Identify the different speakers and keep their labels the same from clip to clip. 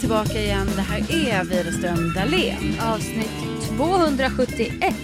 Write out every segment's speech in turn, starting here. Speaker 1: tillbaka igen. Det här är Widerström Dahlén.
Speaker 2: Avsnitt 271.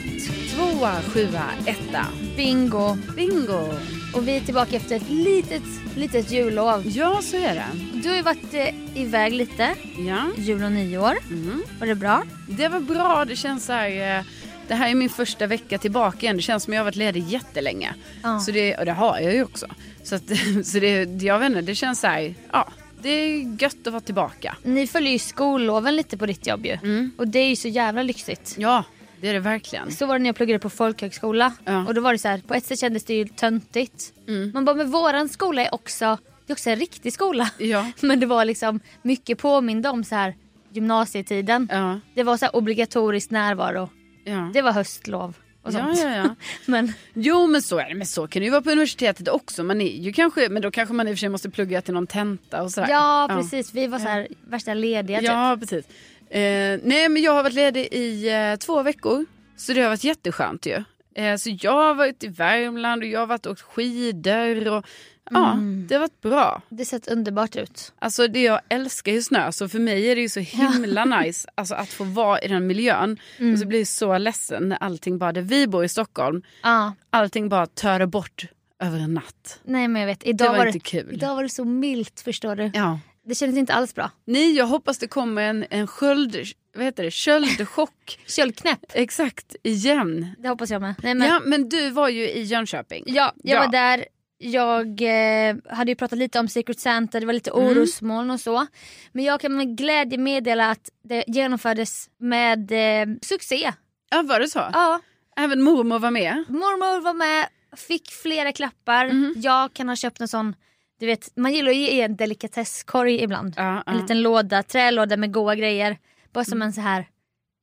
Speaker 1: Tvåa, sjua, etta.
Speaker 2: Bingo.
Speaker 1: Bingo!
Speaker 2: Och vi är tillbaka efter ett litet, litet jullov.
Speaker 1: Ja, så är det.
Speaker 2: Du har ju varit eh, iväg lite,
Speaker 1: Ja.
Speaker 2: jul och nyår.
Speaker 1: Mm.
Speaker 2: Var det bra?
Speaker 1: Det var bra. Det känns så här... eh, Det här är min första vecka tillbaka igen. Det känns som jag har varit ledig jättelänge.
Speaker 2: Ja.
Speaker 1: Så det, och det har jag ju också. Så, att, så det, jag vet inte, det känns så här... Ja, det är gött att vara tillbaka.
Speaker 2: Ni följer ju skolloven lite på ditt jobb ju.
Speaker 1: Mm.
Speaker 2: Och det är ju så jävla lyxigt.
Speaker 1: Ja, det är det verkligen.
Speaker 2: Så var det när jag pluggade på folkhögskola.
Speaker 1: Ja. Mm.
Speaker 2: Och då var det så här, på ett sätt kändes det ju töntigt. Man bara, men våran skola är också, det är också en riktig skola.
Speaker 1: Ja.
Speaker 2: Men det var liksom mycket påminde om så här gymnasietiden.
Speaker 1: Ja,
Speaker 2: Det var så här obligatorisk närvaro.
Speaker 1: ja.
Speaker 2: Det var höstlov och
Speaker 1: Ja,
Speaker 2: sånt.
Speaker 1: ja, ja.
Speaker 2: men
Speaker 1: Jo men så är det, men så kan det ju vara på universitetet också. Man är ju kanske, men då kanske man i och för sig måste plugga till någon tenta och sådär.
Speaker 2: ja precis, vi var så här värsta lediga
Speaker 1: Ja,
Speaker 2: typ.
Speaker 1: ja precis. Eh, nej men jag har varit ledig i eh, två veckor. Så det har varit jätteskönt ju. Eh, så jag har varit i Värmland och jag har varit och åkt skidor och ja,
Speaker 2: Mm.
Speaker 1: det har varit bra.
Speaker 2: Det sett underbart ut.
Speaker 1: Alltså det jag älskar ju snö så för mig är det ju så himla nice alltså, att få vara i den miljön. Och
Speaker 2: Mm.
Speaker 1: så blir jag så ledsen när allting bara, där vi bor i Stockholm,
Speaker 2: Ja,
Speaker 1: allting bara törde bort över en natt.
Speaker 2: nej men jag vet.
Speaker 1: Det
Speaker 2: Idag
Speaker 1: var,
Speaker 2: var
Speaker 1: inte
Speaker 2: det,
Speaker 1: kul.
Speaker 2: idag var det så milt förstår du.
Speaker 1: Ja.
Speaker 2: Det kändes inte alls bra.
Speaker 1: Nej, jag hoppas det kommer en, en sköld, vad heter det, köldchock
Speaker 2: Köldknäpp,
Speaker 1: exakt igen.
Speaker 2: det hoppas jag med. Nej, men,
Speaker 1: Ja, men du var ju i Jönköping.
Speaker 2: Ja, jag
Speaker 1: Ja.
Speaker 2: var där. Jag eh, hade ju pratat lite om Secret Santa, det var lite
Speaker 1: Mm.
Speaker 2: orosmoln och så. Men jag kan med glädje meddela att det genomfördes med eh, succé.
Speaker 1: Ja, var det så?
Speaker 2: Ja,
Speaker 1: Även mormor var med.
Speaker 2: mormor var med, fick flera klappar.
Speaker 1: Mhm.
Speaker 2: Jag kan ha köpt en sån, du vet man gillar ju att ge en delikatesskorg ibland.
Speaker 1: Ja, ja. Mm.
Speaker 2: En liten låda, trälåda med goa grejer. Bara som en så här,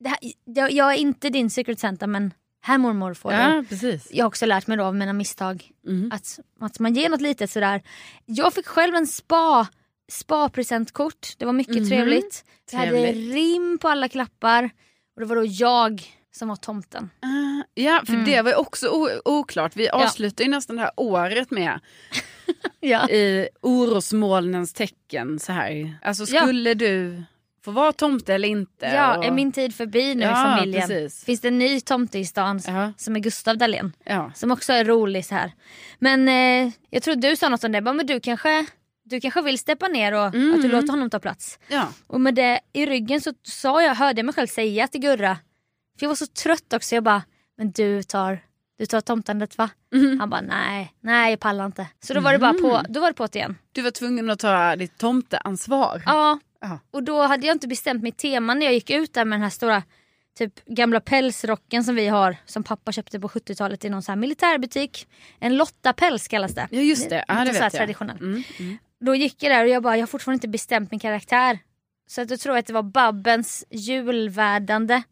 Speaker 2: det här jag, jag är inte din Secret Santa men här mormor får du.
Speaker 1: ja precis.
Speaker 2: jag har också lärt mig då av mina misstag.
Speaker 1: Mm.
Speaker 2: Att, att man ger något litet sådär. Jag fick själv en spa, spa-presentkort. Det var mycket
Speaker 1: Mhm.
Speaker 2: trevligt. Det hade
Speaker 1: Trevligt.
Speaker 2: rim på alla klappar. Och det var då jag som var tomten.
Speaker 1: Ah, ja,
Speaker 2: Mm.
Speaker 1: för det var ju också o- oklart. Vi avslutar ju nästan det här året med
Speaker 2: Ja.
Speaker 1: i orosmolnens tecken så här. Alltså
Speaker 2: Ja.
Speaker 1: skulle du få vara tomte eller inte?
Speaker 2: Ja,
Speaker 1: Och-
Speaker 2: är min tid förbi nu
Speaker 1: Ja,
Speaker 2: i familjen?
Speaker 1: precis.
Speaker 2: Finns det en ny tomte i stan
Speaker 1: Ja.
Speaker 2: som är Gustav Dahlén?
Speaker 1: Ja.
Speaker 2: Som också är rolig så här. Men eh, jag tror du sa något om det. Bara, men du, kanske, du kanske vill steppa ner och att du
Speaker 1: Mm.
Speaker 2: låter honom ta plats.
Speaker 1: ja.
Speaker 2: Och med det i ryggen så sa jag, hörde jag mig själv säga till Gurra, för jag var så trött också, jag bara, men du tar, du tar tomtandet va?
Speaker 1: Mm.
Speaker 2: Han bara, nej, nej jag pallar inte. Så då var det bara på, då var det på det igen.
Speaker 1: Du var tvungen att ta ditt tomteansvar.
Speaker 2: Ja,
Speaker 1: Ja.
Speaker 2: och då hade jag inte bestämt mitt tema när jag gick ut där med den här stora typ gamla pälsrocken som vi har som pappa köpte på 70-talet i någon så här militärbutik. En Lotta-päls kallas det.
Speaker 1: Ja just det, ja, det
Speaker 2: Lite så här
Speaker 1: vet jag.
Speaker 2: traditionell.
Speaker 1: Mm, mm.
Speaker 2: Då gick jag där och jag bara, jag har fortfarande inte bestämt min karaktär. Så att då tror jag att det var Babbens julvärdande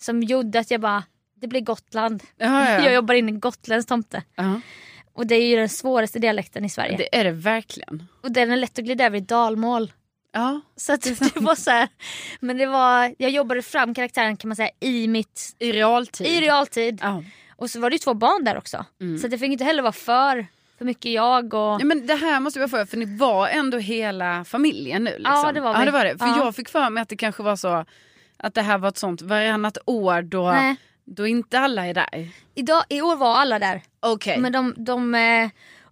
Speaker 2: som gjorde att jag bara, det blir Gotland.
Speaker 1: Ja, ja.
Speaker 2: Jag jobbar in i Gotlands tomte.
Speaker 1: Ja.
Speaker 2: Och det är ju den svåraste dialekten i Sverige.
Speaker 1: Det är det verkligen.
Speaker 2: Och den är lätt att glida över i dalmål.
Speaker 1: Ja.
Speaker 2: Så att det var så här, men det var, jag jobbade fram karaktären kan man säga i mitt,
Speaker 1: I realtid.
Speaker 2: i Mm. realtid.
Speaker 1: ja.
Speaker 2: Och så var det ju två barn där också. Så att det fick inte heller vara för, för mycket jag och...
Speaker 1: ja men det här måste jag fråga, för ni var ändå hela familjen nu? Liksom.
Speaker 2: Ja, det var vi.
Speaker 1: ja, det, var det. För
Speaker 2: Ja.
Speaker 1: jag fick för mig att det kanske var så att det här var ett sånt varannat år då,
Speaker 2: Nej.
Speaker 1: då inte alla är där.
Speaker 2: Idag, I år var alla där.
Speaker 1: Okej.
Speaker 2: Men de, de eh,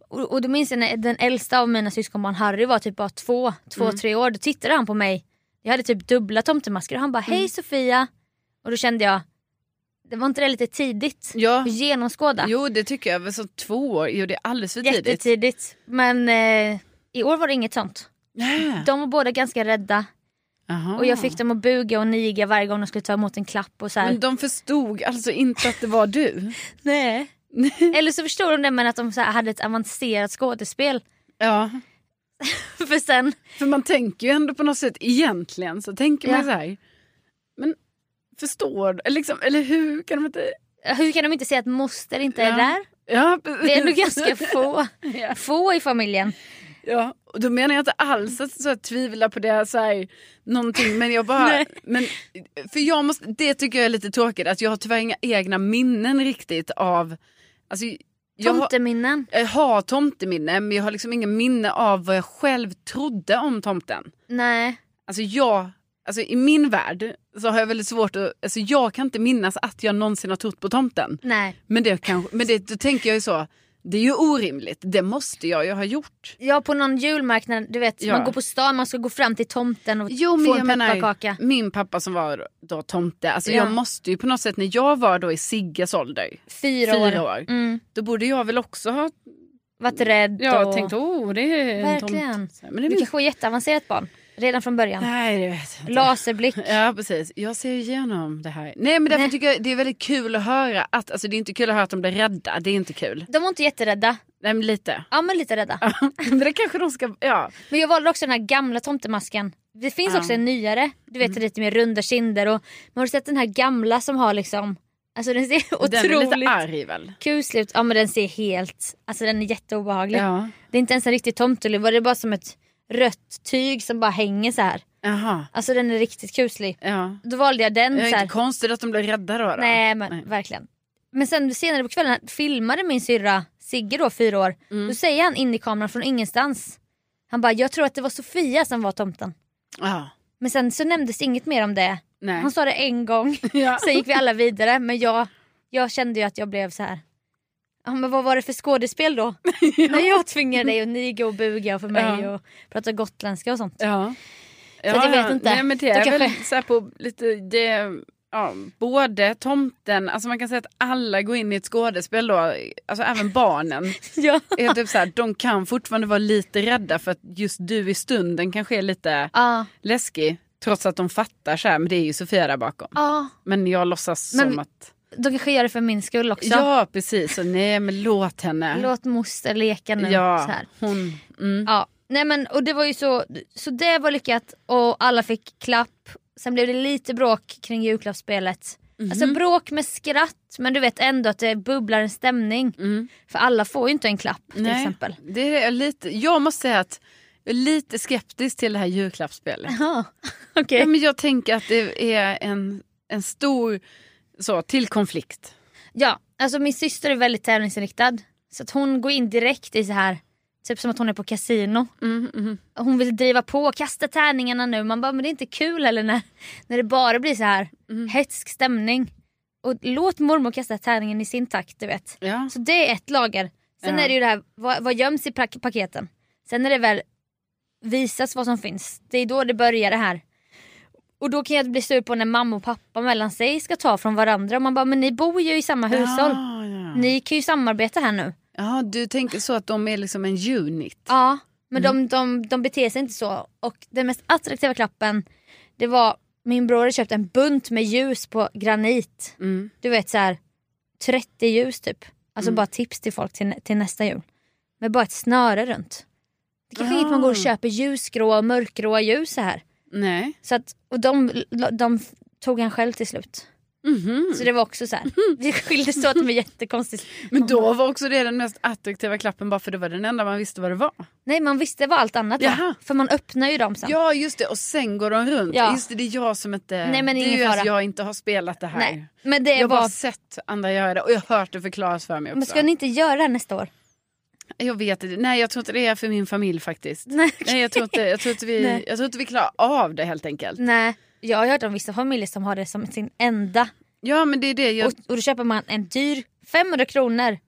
Speaker 2: och, och då minns jag när den äldsta av mina syskonbarn Harry var typ bara två, två tre år. Då tittade han på mig. Jag hade typ dubbla tomtemasker och han bara hej Sofia. Och då kände jag, det var inte det lite tidigt?
Speaker 1: Ja.
Speaker 2: Att Genomskåda.
Speaker 1: Jo det tycker jag, väl så två år, jo det är alldeles för tidigt.
Speaker 2: Jättetidigt. Men eh, i år var det inget sånt.
Speaker 1: Ja.
Speaker 2: De var båda ganska rädda
Speaker 1: Jaha.
Speaker 2: och jag fick dem att buga och niga varje gång de skulle ta emot en klapp och så här.
Speaker 1: Men de förstod alltså inte att det var du?
Speaker 2: Nej. Eller så förstod de det men att de så här hade ett avancerat skådespel.
Speaker 1: ja.
Speaker 2: För sen
Speaker 1: För man tänker ju ändå på något sätt egentligen så tänker man
Speaker 2: Ja.
Speaker 1: så här. Men förstår du? Eller Liksom, eller hur kan de inte?
Speaker 2: Hur kan de inte säga att moster inte är
Speaker 1: Ja.
Speaker 2: där?
Speaker 1: Ja,
Speaker 2: Det är ändå ganska få,
Speaker 1: Ja.
Speaker 2: få i familjen.
Speaker 1: ja, och då menar jag inte alls att så här, tvivla på det så här, någonting. Men jag bara,
Speaker 2: Nej.
Speaker 1: men, för jag måste, det tycker jag är lite tråkigt att jag har tyvärr inga egna minnen riktigt av, alltså, jag, har,
Speaker 2: Tomteminnen.
Speaker 1: jag har tomteminne men jag har liksom inga minne av vad jag själv trodde om tomten.
Speaker 2: Nej.
Speaker 1: Alltså jag alltså, i min värld så har jag väldigt svårt att, alltså, jag kan inte minnas att jag någonsin har trott på tomten.
Speaker 2: Nej.
Speaker 1: Men, det kanske, men det, då tänker jag ju så, det är ju orimligt, det måste jag ju ha gjort.
Speaker 2: Ja på någon julmarknad, du vet
Speaker 1: Ja.
Speaker 2: man går på stan, man ska gå fram till tomten och
Speaker 1: Jo, men
Speaker 2: få
Speaker 1: jag
Speaker 2: en
Speaker 1: menar-
Speaker 2: pepparkaka.
Speaker 1: Min pappa som var då tomte, alltså
Speaker 2: Ja.
Speaker 1: jag måste ju på något sätt, när jag var då i Sigges ålder,
Speaker 2: Fyra,
Speaker 1: fyra
Speaker 2: år.
Speaker 1: år,
Speaker 2: Mm.
Speaker 1: då borde jag väl också ha
Speaker 2: Varit rädd
Speaker 1: ja,
Speaker 2: och...
Speaker 1: tänkt, oh det är en
Speaker 2: Verkligen.
Speaker 1: tomte. Men det
Speaker 2: Du
Speaker 1: minns...
Speaker 2: kanske var jätteavancerat barn. Redan från början.
Speaker 1: Nej, det vet jag inte.
Speaker 2: Laserblick.
Speaker 1: Ja precis, jag ser igenom det här. Nej men därför
Speaker 2: Nej.
Speaker 1: tycker jag det är väldigt kul att höra att, alltså det är inte kul att höra att de blir rädda, det är inte kul.
Speaker 2: De var inte jätterädda.
Speaker 1: Nej men lite.
Speaker 2: Ja men lite rädda.
Speaker 1: men det kanske de ska, ja.
Speaker 2: Men jag valde också den här gamla tomtemasken. Det finns
Speaker 1: Ja. Mm.
Speaker 2: också en nyare. Du vet lite mer runda kinder och man har du sett den här gamla som har liksom Alltså den ser
Speaker 1: Den är lite
Speaker 2: otroligt
Speaker 1: arg väl?
Speaker 2: kuslig ut. Ja men den ser helt, alltså den är jätteobehaglig.
Speaker 1: Ja.
Speaker 2: Det är inte ens en riktig tomteluva, det är bara som ett rött tyg som bara hänger så här.
Speaker 1: Jaha.
Speaker 2: Alltså den är riktigt kuslig.
Speaker 1: Ja.
Speaker 2: Då valde jag den.
Speaker 1: Det
Speaker 2: så
Speaker 1: är
Speaker 2: här.
Speaker 1: inte konstigt att de blir rädda då. då.
Speaker 2: Nej men
Speaker 1: Nej.
Speaker 2: verkligen. Men sen senare på kvällen filmade min syrra Sigge då fyra år.
Speaker 1: Mm.
Speaker 2: Då säger han in i kameran från ingenstans. Han bara jag tror att det var Sofia som var tomten.
Speaker 1: Ja.
Speaker 2: Men sen så nämndes inget mer om det.
Speaker 1: Nej.
Speaker 2: Han sa det en gång.
Speaker 1: Ja.
Speaker 2: Sen gick vi alla vidare men jag, jag kände ju att jag blev så här. Ja men vad var det för skådespel då? När jag tvingade dig och niga och buga för mig
Speaker 1: Ja.
Speaker 2: och prata gotländska och sånt.
Speaker 1: Ja.
Speaker 2: att jag vet inte.
Speaker 1: Nej, men det
Speaker 2: Då
Speaker 1: är väl
Speaker 2: kanske-
Speaker 1: så här på lite, det, ja, både tomten, alltså man kan säga att alla går in i ett skådespel då, alltså även barnen.
Speaker 2: Ja.
Speaker 1: är typ så här, de kan fortfarande vara lite rädda för att just du i stunden kanske är lite
Speaker 2: Ja.
Speaker 1: läskig. Trots att de fattar så här, men det är ju Sofia där bakom.
Speaker 2: ja.
Speaker 1: Men jag låtsas
Speaker 2: Men-
Speaker 1: som att...
Speaker 2: De kanske gör det för min skull också.
Speaker 1: Ja precis, så nej men låt henne.
Speaker 2: Låt moster leka nu. Så
Speaker 1: ja,
Speaker 2: här.
Speaker 1: hon... Mm.
Speaker 2: Ja, nej men och det var ju så, så det var lyckat och alla fick klapp. Sen blev det lite bråk kring julklappsspelet. Alltså bråk med skratt men du vet ändå att det bubblar en stämning.
Speaker 1: Mm.
Speaker 2: För alla får ju inte en klapp till
Speaker 1: Nej,
Speaker 2: exempel.
Speaker 1: Det är lite, jag måste säga att jag är lite skeptisk till det här julklappsspelet.
Speaker 2: Ja, okej.
Speaker 1: Ja, men jag tänker att det är en, en stor så, till konflikt.
Speaker 2: Ja, alltså min syster är väldigt tävlingsinriktad. Så att hon går in direkt i så här, typ som att hon är på kasino.
Speaker 1: Mm, mm.
Speaker 2: Hon vill driva på, kasta tärningarna nu. Man bara, men det är inte kul heller när, när det bara blir så här
Speaker 1: Mm.
Speaker 2: hätsk stämning. Och låt mormor kasta tärningen i sin takt, du vet.
Speaker 1: Ja.
Speaker 2: Så det är ett lager. Sen
Speaker 1: Ja.
Speaker 2: är det ju det här, vad, vad göms i pak- paketen? Sen när det väl visas vad som finns, det är då det börjar det här. Och då kan jag bli sur på när mamma och pappa mellan sig ska ta från varandra. Och man bara, men ni bor ju i samma hushåll.
Speaker 1: Ja, ja.
Speaker 2: Ni kan ju samarbeta här nu.
Speaker 1: ja, du tänker så att de är liksom en unit.
Speaker 2: Ja, men
Speaker 1: Mm.
Speaker 2: de, de, de beter sig inte så. Och den mest attraktiva klappen, det var min bror hade köpt en bunt med ljus på granit.
Speaker 1: Mm.
Speaker 2: Du vet så här 30 ljus typ. Alltså bara tips till folk till, nä- till nästa jul. Med bara ett snöre runt. Det kanske är inget man går och
Speaker 1: Ah.
Speaker 2: köper ljusgrå och mörkgråa ljus så här.
Speaker 1: Nej.
Speaker 2: Så att, och de, de tog han själv till slut.
Speaker 1: Mhm.
Speaker 2: Så det var också så här. Vi skildes åt med jättekonstigt.
Speaker 1: Men då var också det den mest attraktiva klappen bara för det var den enda man visste vad det var.
Speaker 2: Nej man visste vad allt annat
Speaker 1: Jaha.
Speaker 2: var. För man öppnar ju dem sen.
Speaker 1: Ja just det och sen går de runt.
Speaker 2: Ja.
Speaker 1: Just det, det är jag som inte...
Speaker 2: Nej, men
Speaker 1: det är
Speaker 2: ingen
Speaker 1: ju att
Speaker 2: fara.
Speaker 1: jag inte har spelat det här.
Speaker 2: Nej, men det
Speaker 1: Jag har
Speaker 2: var...
Speaker 1: bara sett andra göra det och jag har hört det förklaras för mig också.
Speaker 2: Men ska ni inte göra det här nästa år?
Speaker 1: Jag vet inte, nej jag tror inte det är för min familj faktiskt.
Speaker 2: Nej.
Speaker 1: Nej, jag tror inte, jag tror inte, vi,
Speaker 2: Nej.
Speaker 1: jag tror inte vi klarar av det helt enkelt.
Speaker 2: Nej. Jag har hört om vissa familjer som har det som sin enda.
Speaker 1: Ja men det är det. Jag,
Speaker 2: Och, och då köper man en dyr 500 kronor.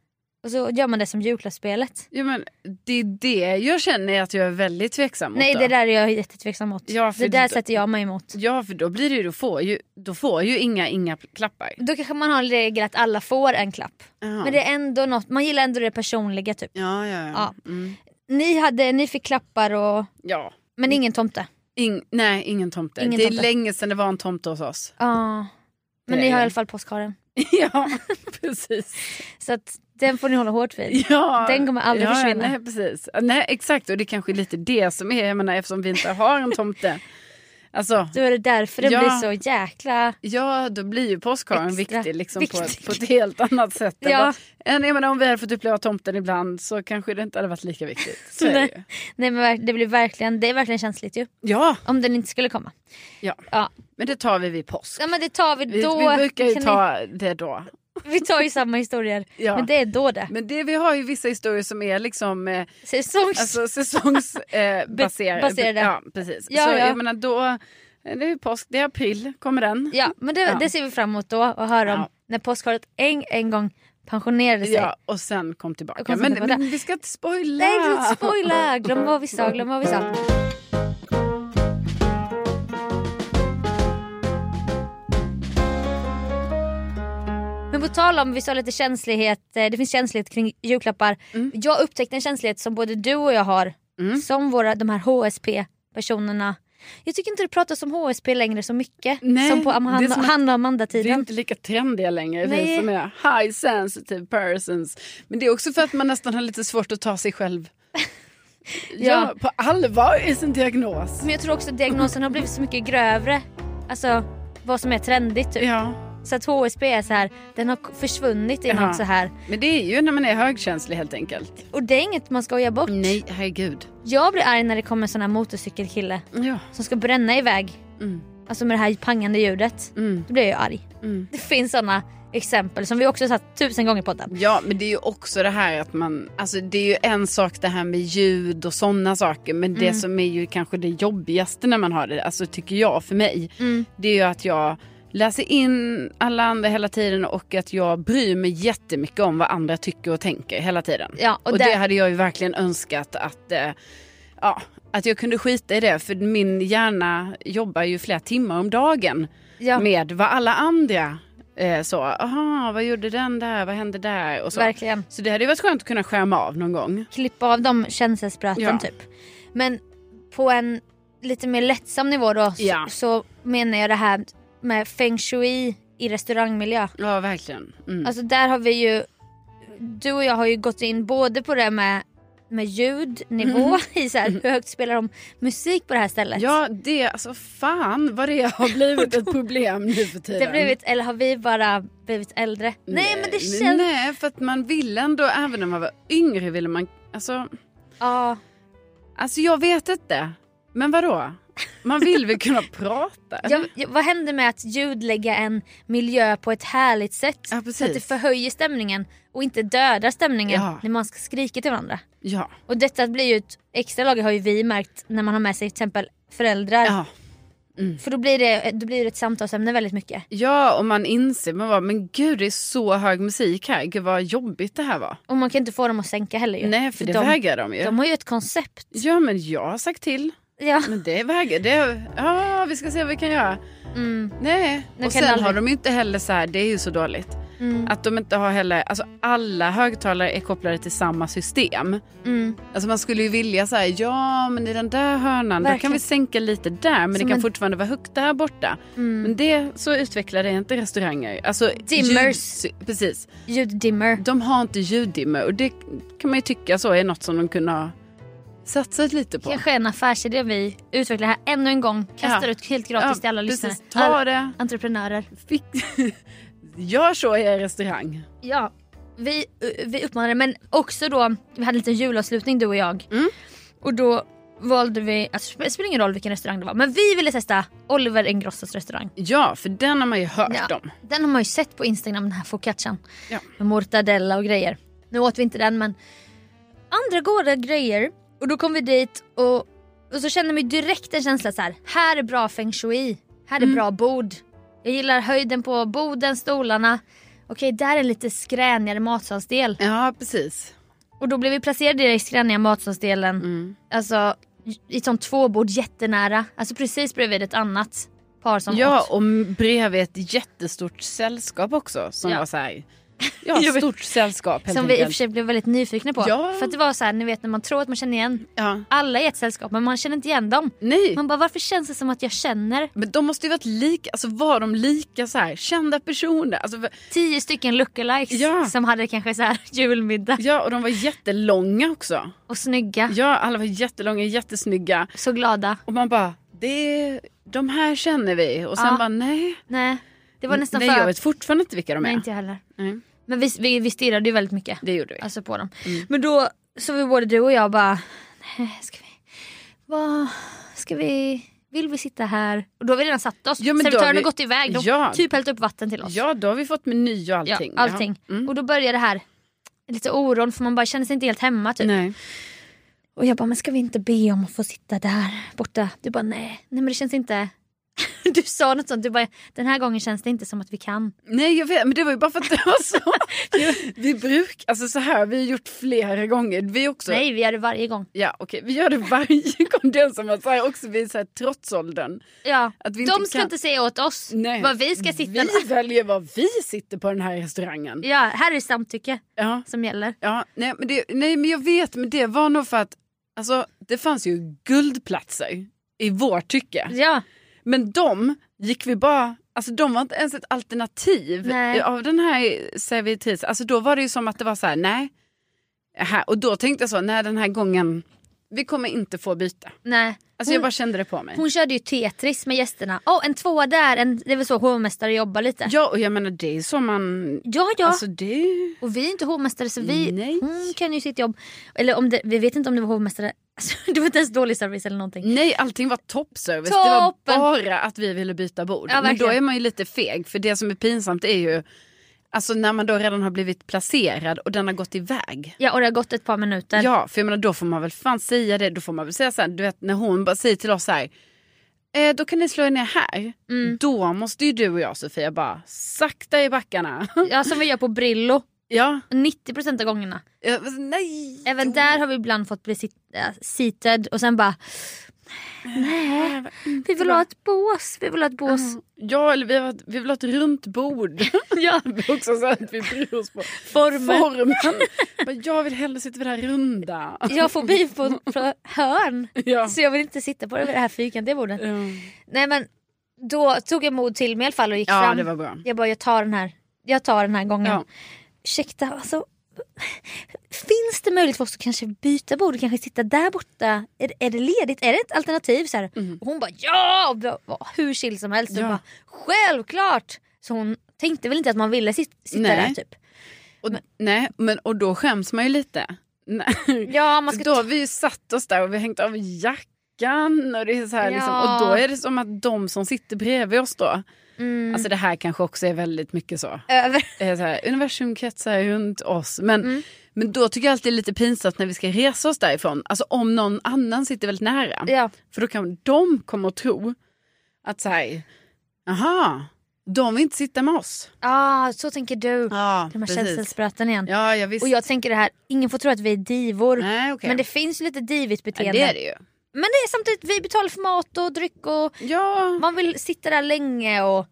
Speaker 2: Och så gör man det som julklappsspelet.
Speaker 1: ja, men det är det jag känner att jag är väldigt tveksam mot.
Speaker 2: Nej
Speaker 1: då.
Speaker 2: det där är jag jättetveksam mot.
Speaker 1: Ja, för
Speaker 2: det där
Speaker 1: då-
Speaker 2: sätter jag mig emot.
Speaker 1: Ja för då blir det ju, då får ju, då får ju inga, inga klappar.
Speaker 2: Då kanske man har en regel att alla får en klapp.
Speaker 1: Jaha.
Speaker 2: Men det är ändå något, man gillar ändå det personliga typ.
Speaker 1: Ja, ja, ja.
Speaker 2: Ja.
Speaker 1: Mm.
Speaker 2: Ni, hade, ni fick klappar och,
Speaker 1: ja.
Speaker 2: men ingen tomte.
Speaker 1: Ing, nej, ingen tomte.
Speaker 2: Ingen
Speaker 1: det är
Speaker 2: tomte.
Speaker 1: länge sedan det var en tomte hos oss.
Speaker 2: Ja. Men
Speaker 1: Det
Speaker 2: ni
Speaker 1: är-
Speaker 2: har i alla fall påskharen.
Speaker 1: ja, precis.
Speaker 2: Så att den får ni hålla hårt vid.
Speaker 1: Ja.
Speaker 2: Den kommer aldrig
Speaker 1: ja,
Speaker 2: försvinna.
Speaker 1: Nej, precis. Nej, exakt. Och det är kanske är lite det som är, jag menar, eftersom vi inte har en tomte. Alltså,
Speaker 2: Då är det därför det
Speaker 1: Ja.
Speaker 2: blir så jäkla...
Speaker 1: ja, då blir ju påskharen
Speaker 2: Extra
Speaker 1: viktig, liksom, På, ett-
Speaker 2: viktig.
Speaker 1: på ett helt annat sätt. än
Speaker 2: Ja.
Speaker 1: vad- än, jag menar, om vi hade fått uppleva tomten ibland så kanske det inte hade varit lika viktigt. Så är det
Speaker 2: Nej.
Speaker 1: ju.
Speaker 2: Nej men verk- det blir verkligen, det är verkligen känsligt ju.
Speaker 1: Ja,
Speaker 2: Om den inte skulle komma.
Speaker 1: Ja.
Speaker 2: Ja,
Speaker 1: men det tar vi vid påsk.
Speaker 2: ja men det tar vi
Speaker 1: Vi,
Speaker 2: då.
Speaker 1: vi brukar ju
Speaker 2: kan
Speaker 1: ta det då.
Speaker 2: ni, vi tar ju samma historier.
Speaker 1: Ja.
Speaker 2: Men det är då det.
Speaker 1: Men det, vi har ju vissa historier som är liksom eh,
Speaker 2: Säsongs...
Speaker 1: Alltså säsongsbaserade. Eh, baserade.
Speaker 2: baserade.
Speaker 1: Ja, precis.
Speaker 2: Ja,
Speaker 1: så
Speaker 2: ja.
Speaker 1: jag menar då, Det är ju påsk, det är april, kommer den.
Speaker 2: Ja, men det,
Speaker 1: Ja.
Speaker 2: det ser vi fram emot då och höra om
Speaker 1: Ja.
Speaker 2: när påskharet en, en gång pensionerade sig.
Speaker 1: Ja, och sen kom tillbaka.
Speaker 2: Och kom sen
Speaker 1: men,
Speaker 2: tillbaka.
Speaker 1: men vi ska inte spoila.
Speaker 2: Nej, vi ska inte spoila! Glöm vad vi sa, glöm vad vi sa. Men på tal om, vi sa lite känslighet, eh, det finns känslighet kring julklappar.
Speaker 1: Mm.
Speaker 2: Jag upptäckte en känslighet som både du och jag har,
Speaker 1: Mm.
Speaker 2: som våra, de här HSP-personerna. Jag tycker inte det pratas om HSP längre så mycket
Speaker 1: Nej,
Speaker 2: som på
Speaker 1: det är
Speaker 2: Amanda,
Speaker 1: som att-
Speaker 2: Hanna och
Speaker 1: Det är
Speaker 2: Amanda-tiden.
Speaker 1: inte lika trendiga längre,
Speaker 2: Nej.
Speaker 1: vi som är high sensitive persons. Men det är också för att man nästan har lite svårt att ta sig själv ja.
Speaker 2: Ja.
Speaker 1: på allvar i sin diagnos.
Speaker 2: Men jag tror också att diagnosen har blivit så mycket grövre. Alltså vad som är trendigt typ.
Speaker 1: Ja.
Speaker 2: Så att HSB är så här, den har k- försvunnit i
Speaker 1: Jaha.
Speaker 2: något så här.
Speaker 1: Men det är ju när man är högkänslig helt enkelt.
Speaker 2: Och det är inget man skojar bort.
Speaker 1: Nej, herregud.
Speaker 2: Jag blir arg när det kommer en sån här motorcykelkille
Speaker 1: Ja.
Speaker 2: som ska bränna iväg.
Speaker 1: Mm.
Speaker 2: Alltså med det här pangande ljudet.
Speaker 1: Mm.
Speaker 2: Då blir jag ju arg.
Speaker 1: Mm.
Speaker 2: Det finns såna exempel som vi också satt tusen gånger på podden.
Speaker 1: Ja, men det är ju också det här att man... Alltså det är ju en sak det här med ljud och sådana saker. Men
Speaker 2: Mm.
Speaker 1: det som är ju kanske det jobbigaste när man har det, alltså tycker jag för mig,
Speaker 2: Mm.
Speaker 1: det är ju att jag läser in alla andra hela tiden och att jag bryr mig jättemycket om vad andra tycker och tänker hela tiden.
Speaker 2: Ja, och
Speaker 1: Och, det
Speaker 2: där-
Speaker 1: hade jag ju verkligen önskat att, eh, ja, att jag kunde skita i det för min hjärna jobbar ju flera timmar om dagen
Speaker 2: Ja,
Speaker 1: med vad alla andra eh, så, aha, vad gjorde den där, vad hände där och så.
Speaker 2: verkligen.
Speaker 1: Så det hade ju varit skönt att kunna skärma av någon gång.
Speaker 2: Klippa av de känselspröten
Speaker 1: Ja.
Speaker 2: typ. Men på en lite mer lättsam nivå då så,
Speaker 1: Ja.
Speaker 2: så menar jag det här med feng shui i restaurangmiljö.
Speaker 1: Ja, verkligen. Mm.
Speaker 2: Alltså där har vi ju, du och jag har ju gått in både på det med, med ljudnivå, i så här, hur högt spelar de musik på det här stället?
Speaker 1: Mm. Ja, det, alltså fan vad det har blivit ett problem nu för tiden.
Speaker 2: det har blivit, eller har vi bara blivit äldre? Nej, men det känns...
Speaker 1: Nej, för att man ville ändå, även när man var yngre ville man... Alltså,
Speaker 2: Ja,
Speaker 1: alltså jag vet inte. Men vadå? Man vill väl kunna prata?
Speaker 2: jag, jag, vad händer med att ljudlägga en miljö på ett härligt sätt?
Speaker 1: Ja,
Speaker 2: så att det
Speaker 1: precis.
Speaker 2: förhöjer stämningen och inte dödar stämningen
Speaker 1: Ja.
Speaker 2: när man ska skrika till varandra.
Speaker 1: Ja.
Speaker 2: Och detta blir ju ett extra lager har ju vi märkt när man har med sig till exempel föräldrar.
Speaker 1: ja.
Speaker 2: För då blir, det, då blir det ett samtalsämne väldigt mycket.
Speaker 1: Ja, och man inser, man bara, men gud det är så hög musik här. Gud vad jobbigt det här var.
Speaker 2: Och man kan inte få dem att sänka heller ju.
Speaker 1: Nej, för det
Speaker 2: de,
Speaker 1: vägrar de ju.
Speaker 2: de har ju ett koncept.
Speaker 1: Ja, men jag har sagt till.
Speaker 2: Ja.
Speaker 1: Men det vägrar, det... Ja, vi ska se vad vi kan göra.
Speaker 2: Mm,
Speaker 1: Nej,
Speaker 2: Nu
Speaker 1: och
Speaker 2: kan
Speaker 1: sen
Speaker 2: aldrig-
Speaker 1: har de ju inte heller så här, det är ju så dåligt.
Speaker 2: mm,
Speaker 1: Att de inte har heller, alltså alla högtalare är kopplade till samma system.
Speaker 2: mm.
Speaker 1: Alltså man skulle ju vilja så här, ja men i den där hörnan, då
Speaker 2: Verkligen.
Speaker 1: kan vi sänka lite där men
Speaker 2: Som
Speaker 1: det kan
Speaker 2: en- Mm.
Speaker 1: fortfarande vara högt där borta. Men det, så utvecklade är inte restauranger. Alltså,
Speaker 2: Dimmers.
Speaker 1: ljud- precis.
Speaker 2: Ljuddimmer.
Speaker 1: De har inte ljuddimmer och det kan man ju tycka så är något som de kunde ha satsat lite på.
Speaker 2: Kanske en affärsidé vi utvecklar här ännu en gång. Kastar
Speaker 1: Ja.
Speaker 2: ut helt gratis till alla
Speaker 1: precis.
Speaker 2: lyssnare.
Speaker 1: Ta
Speaker 2: Alla
Speaker 1: det.
Speaker 2: entreprenörer.
Speaker 1: Fick... Gör så i er restaurang.
Speaker 2: Ja. Vi, eh, vi uppmanade men också då, vi hade en liten julavslutning du och jag.
Speaker 1: Mm.
Speaker 2: Och då valde vi, alltså, det spelar ingen roll vilken restaurang det var, men vi ville testa Oliver Ingrossos restaurang.
Speaker 1: Ja, för den har man ju hört
Speaker 2: Ja.
Speaker 1: om.
Speaker 2: Den har man ju sett på Instagram, den här focaccian.
Speaker 1: Ja.
Speaker 2: Med mortadella och grejer. Nu åt vi inte den men andra goda grejer. Och då kom vi dit och, och så kände man ju direkt en känsla så här. här är bra feng shui. Här
Speaker 1: Mm.
Speaker 2: är bra bord. Jag gillar höjden på borden, stolarna. Okej, där är en lite skränigare matsalsdel.
Speaker 1: Ja, precis.
Speaker 2: Och då blev vi placerade i den skräniga matsalsdelen.
Speaker 1: Mm.
Speaker 2: Alltså i ett sånt tvåbord jättenära. Alltså precis bredvid ett annat par som
Speaker 1: Ja,
Speaker 2: åt.
Speaker 1: och bredvid ett jättestort sällskap också som
Speaker 2: Ja.
Speaker 1: var så här. Ja, ett stort sällskap helt
Speaker 2: Som vi i och för
Speaker 1: enkelt.
Speaker 2: sig blev väldigt nyfikna på.
Speaker 1: Ja.
Speaker 2: För att det var så här, ni vet när man tror att man känner igen
Speaker 1: Ja.
Speaker 2: alla i ett sällskap men man känner inte igen dem.
Speaker 1: Nej,
Speaker 2: Man bara varför känns det som att jag känner
Speaker 1: men de måste ju varit lika, alltså var de lika så här kända personer? Alltså, v-
Speaker 2: tio stycken lookalikes
Speaker 1: Ja.
Speaker 2: som hade kanske så här julmiddag
Speaker 1: ja, och de var jättelånga också.
Speaker 2: och snygga,
Speaker 1: Ja, alla var jättelånga, jättesnygga.
Speaker 2: så glada.
Speaker 1: Och man bara, det, de här känner vi. Och sen
Speaker 2: Ja.
Speaker 1: bara, nej.
Speaker 2: Nej, det var nästan
Speaker 1: nej,
Speaker 2: för...
Speaker 1: jag vet fortfarande inte vilka de
Speaker 2: Nej
Speaker 1: är.
Speaker 2: inte jag heller.
Speaker 1: Nej,
Speaker 2: Men vi, vi, vi stirrade ju väldigt mycket
Speaker 1: det gjorde vi.
Speaker 2: alltså på dem.
Speaker 1: Mm.
Speaker 2: Men då så vi både du och jag bara, nej ska vi, vad, ska vi, vill vi sitta här? Och då har vi redan satt oss.
Speaker 1: Ja, men då har
Speaker 2: Servitören har
Speaker 1: vi-
Speaker 2: gått iväg, de
Speaker 1: Ja.
Speaker 2: typ hällt upp vatten till oss.
Speaker 1: Alltså, Ja, då har vi fått meny och allting.
Speaker 2: Ja, allting.
Speaker 1: Ja. Mm.
Speaker 2: Och då börjar det här lite oron för man bara känner sig inte helt hemma typ.
Speaker 1: Nej.
Speaker 2: Och jag bara, men ska vi inte be om att få sitta där borta? Du bara, nej, nej men det känns inte, Du sa något sånt, du bara den här gången känns det inte som att vi kan.
Speaker 1: Nej jag vet, men det var ju bara för att det var så. vi brukar, alltså så här, vi har gjort flera gånger. Vi är också,
Speaker 2: Nej vi gör det varje gång.
Speaker 1: Ja okej, vi gör det varje gång. Det är som att så här, också vi är så här, trotsåldern.
Speaker 2: Ja.
Speaker 1: Att vi
Speaker 2: De ska
Speaker 1: kan-
Speaker 2: inte säga åt oss
Speaker 1: Nej.
Speaker 2: vad vi ska sitta
Speaker 1: Vi väljer var vi sitter på den här restaurangen.
Speaker 2: Ja, här är samtycke
Speaker 1: Ja,
Speaker 2: som gäller.
Speaker 1: ja nej, men det, nej men jag vet, men det var nog för att alltså, det fanns ju guldplatser i vårt tycke.
Speaker 2: Ja,
Speaker 1: Men de gick vi bara, alltså de var inte ens ett alternativ
Speaker 2: Nej.
Speaker 1: av den här servitrisen. Alltså då var det ju som att det var så här, nej. Här. Och då tänkte jag så, nej den här gången, vi kommer inte få byta.
Speaker 2: nej.
Speaker 1: Alltså jag bara kände det på mig.
Speaker 2: Mm. Hon körde ju Tetris med gästerna. Åh, en tvåa där, en, det är väl så hovmästare jobbar lite. Ja,
Speaker 1: Ja och jag menar det är som man,
Speaker 2: ja.
Speaker 1: alltså det är ju-
Speaker 2: Och vi är inte hovmästare så vi,
Speaker 1: Nej.
Speaker 2: hon kan ju sitt jobb. Eller om det, vi vet inte om det var hovmästare, alltså, det var inte ens dålig service eller någonting.
Speaker 1: Nej, allting var toppservice. Det var
Speaker 2: Toppen.
Speaker 1: bara att vi ville byta bord.
Speaker 2: Ja,
Speaker 1: Men då
Speaker 2: verkligen.
Speaker 1: är man ju lite feg. För det som är pinsamt är ju alltså när man då redan har blivit placerad och den har gått iväg.
Speaker 2: Ja och det har gått ett par minuter.
Speaker 1: Ja, för jag menar då får man väl fan säga det. Då får man väl säga så här, du vet när hon bara säger till oss så här. Eh, då kan ni slå er ner här.
Speaker 2: Mm.
Speaker 1: Då måste ju du och jag Sofia bara sakta i backarna.
Speaker 2: Ja, som vi gör på Brillo,
Speaker 1: ja,
Speaker 2: 90% av gångerna.
Speaker 1: eh, nej.
Speaker 2: Även där har vi ibland fått bli sit, äh, seated och sen bara Nej, vi vill ha ett bås, vi vill ha ett bås.
Speaker 1: Alltså, Ja, eller vi, har, vi vill ha ett runt bord.
Speaker 2: Ja,
Speaker 1: Det är också så här att vi bryr oss på
Speaker 2: formen.
Speaker 1: formen. Men jag vill hellre sitta vid det här runda.
Speaker 2: Jag får biv på, på hörn.
Speaker 1: Ja.
Speaker 2: Så jag vill inte sitta på det här fyrkantiga bordet.
Speaker 1: Ja.
Speaker 2: Nej men då tog jag mod till mig i alla fall och gick
Speaker 1: ja,
Speaker 2: fram.
Speaker 1: det var bra.
Speaker 2: Jag bara jag tar den här, jag tar den här gången.
Speaker 1: Ja.
Speaker 2: Ursäkta alltså. Finns det möjlighet för oss att kanske byta bord och kanske sitta där borta? Är, är det ledigt? Är det ett alternativ? Så här. Och hon bara ja! Och jag var hur chill som helst.
Speaker 1: Mm. Ja.
Speaker 2: Och bara, Självklart! Så hon tänkte väl inte att man ville sit, sitta
Speaker 1: Nej.
Speaker 2: där typ.
Speaker 1: Och, nej, men, och då skäms man ju lite. Nej.
Speaker 2: Ja, man ska
Speaker 1: Då har vi ju satt oss där och vi har hängt av jackan. Och, det är så här, liksom,
Speaker 2: Ja.
Speaker 1: och då är det som att de som sitter bredvid oss då.
Speaker 2: mm,
Speaker 1: Alltså det här kanske också är väldigt mycket så.
Speaker 2: över.
Speaker 1: Det är så här, universum kretsar runt oss. Men,
Speaker 2: Mm.
Speaker 1: men då tycker jag alltid det är lite pinsamt när vi ska resa oss därifrån. Alltså om någon annan sitter väldigt nära.
Speaker 2: Ja.
Speaker 1: För då kan de komma att tro att så här, aha, de vill inte sitta med oss.
Speaker 2: Ah, så tänker du.
Speaker 1: Ja,
Speaker 2: De här känselspröten igen.
Speaker 1: Ja, jag visst.
Speaker 2: Och jag tänker det här, ingen får tro att vi är divor.
Speaker 1: Nej, okej.
Speaker 2: Men det finns ju lite divigt
Speaker 1: ja,
Speaker 2: beteende.
Speaker 1: det är det ju.
Speaker 2: Men det är samtidigt, vi betalar för mat och dryck och
Speaker 1: Ja,
Speaker 2: man vill sitta där länge och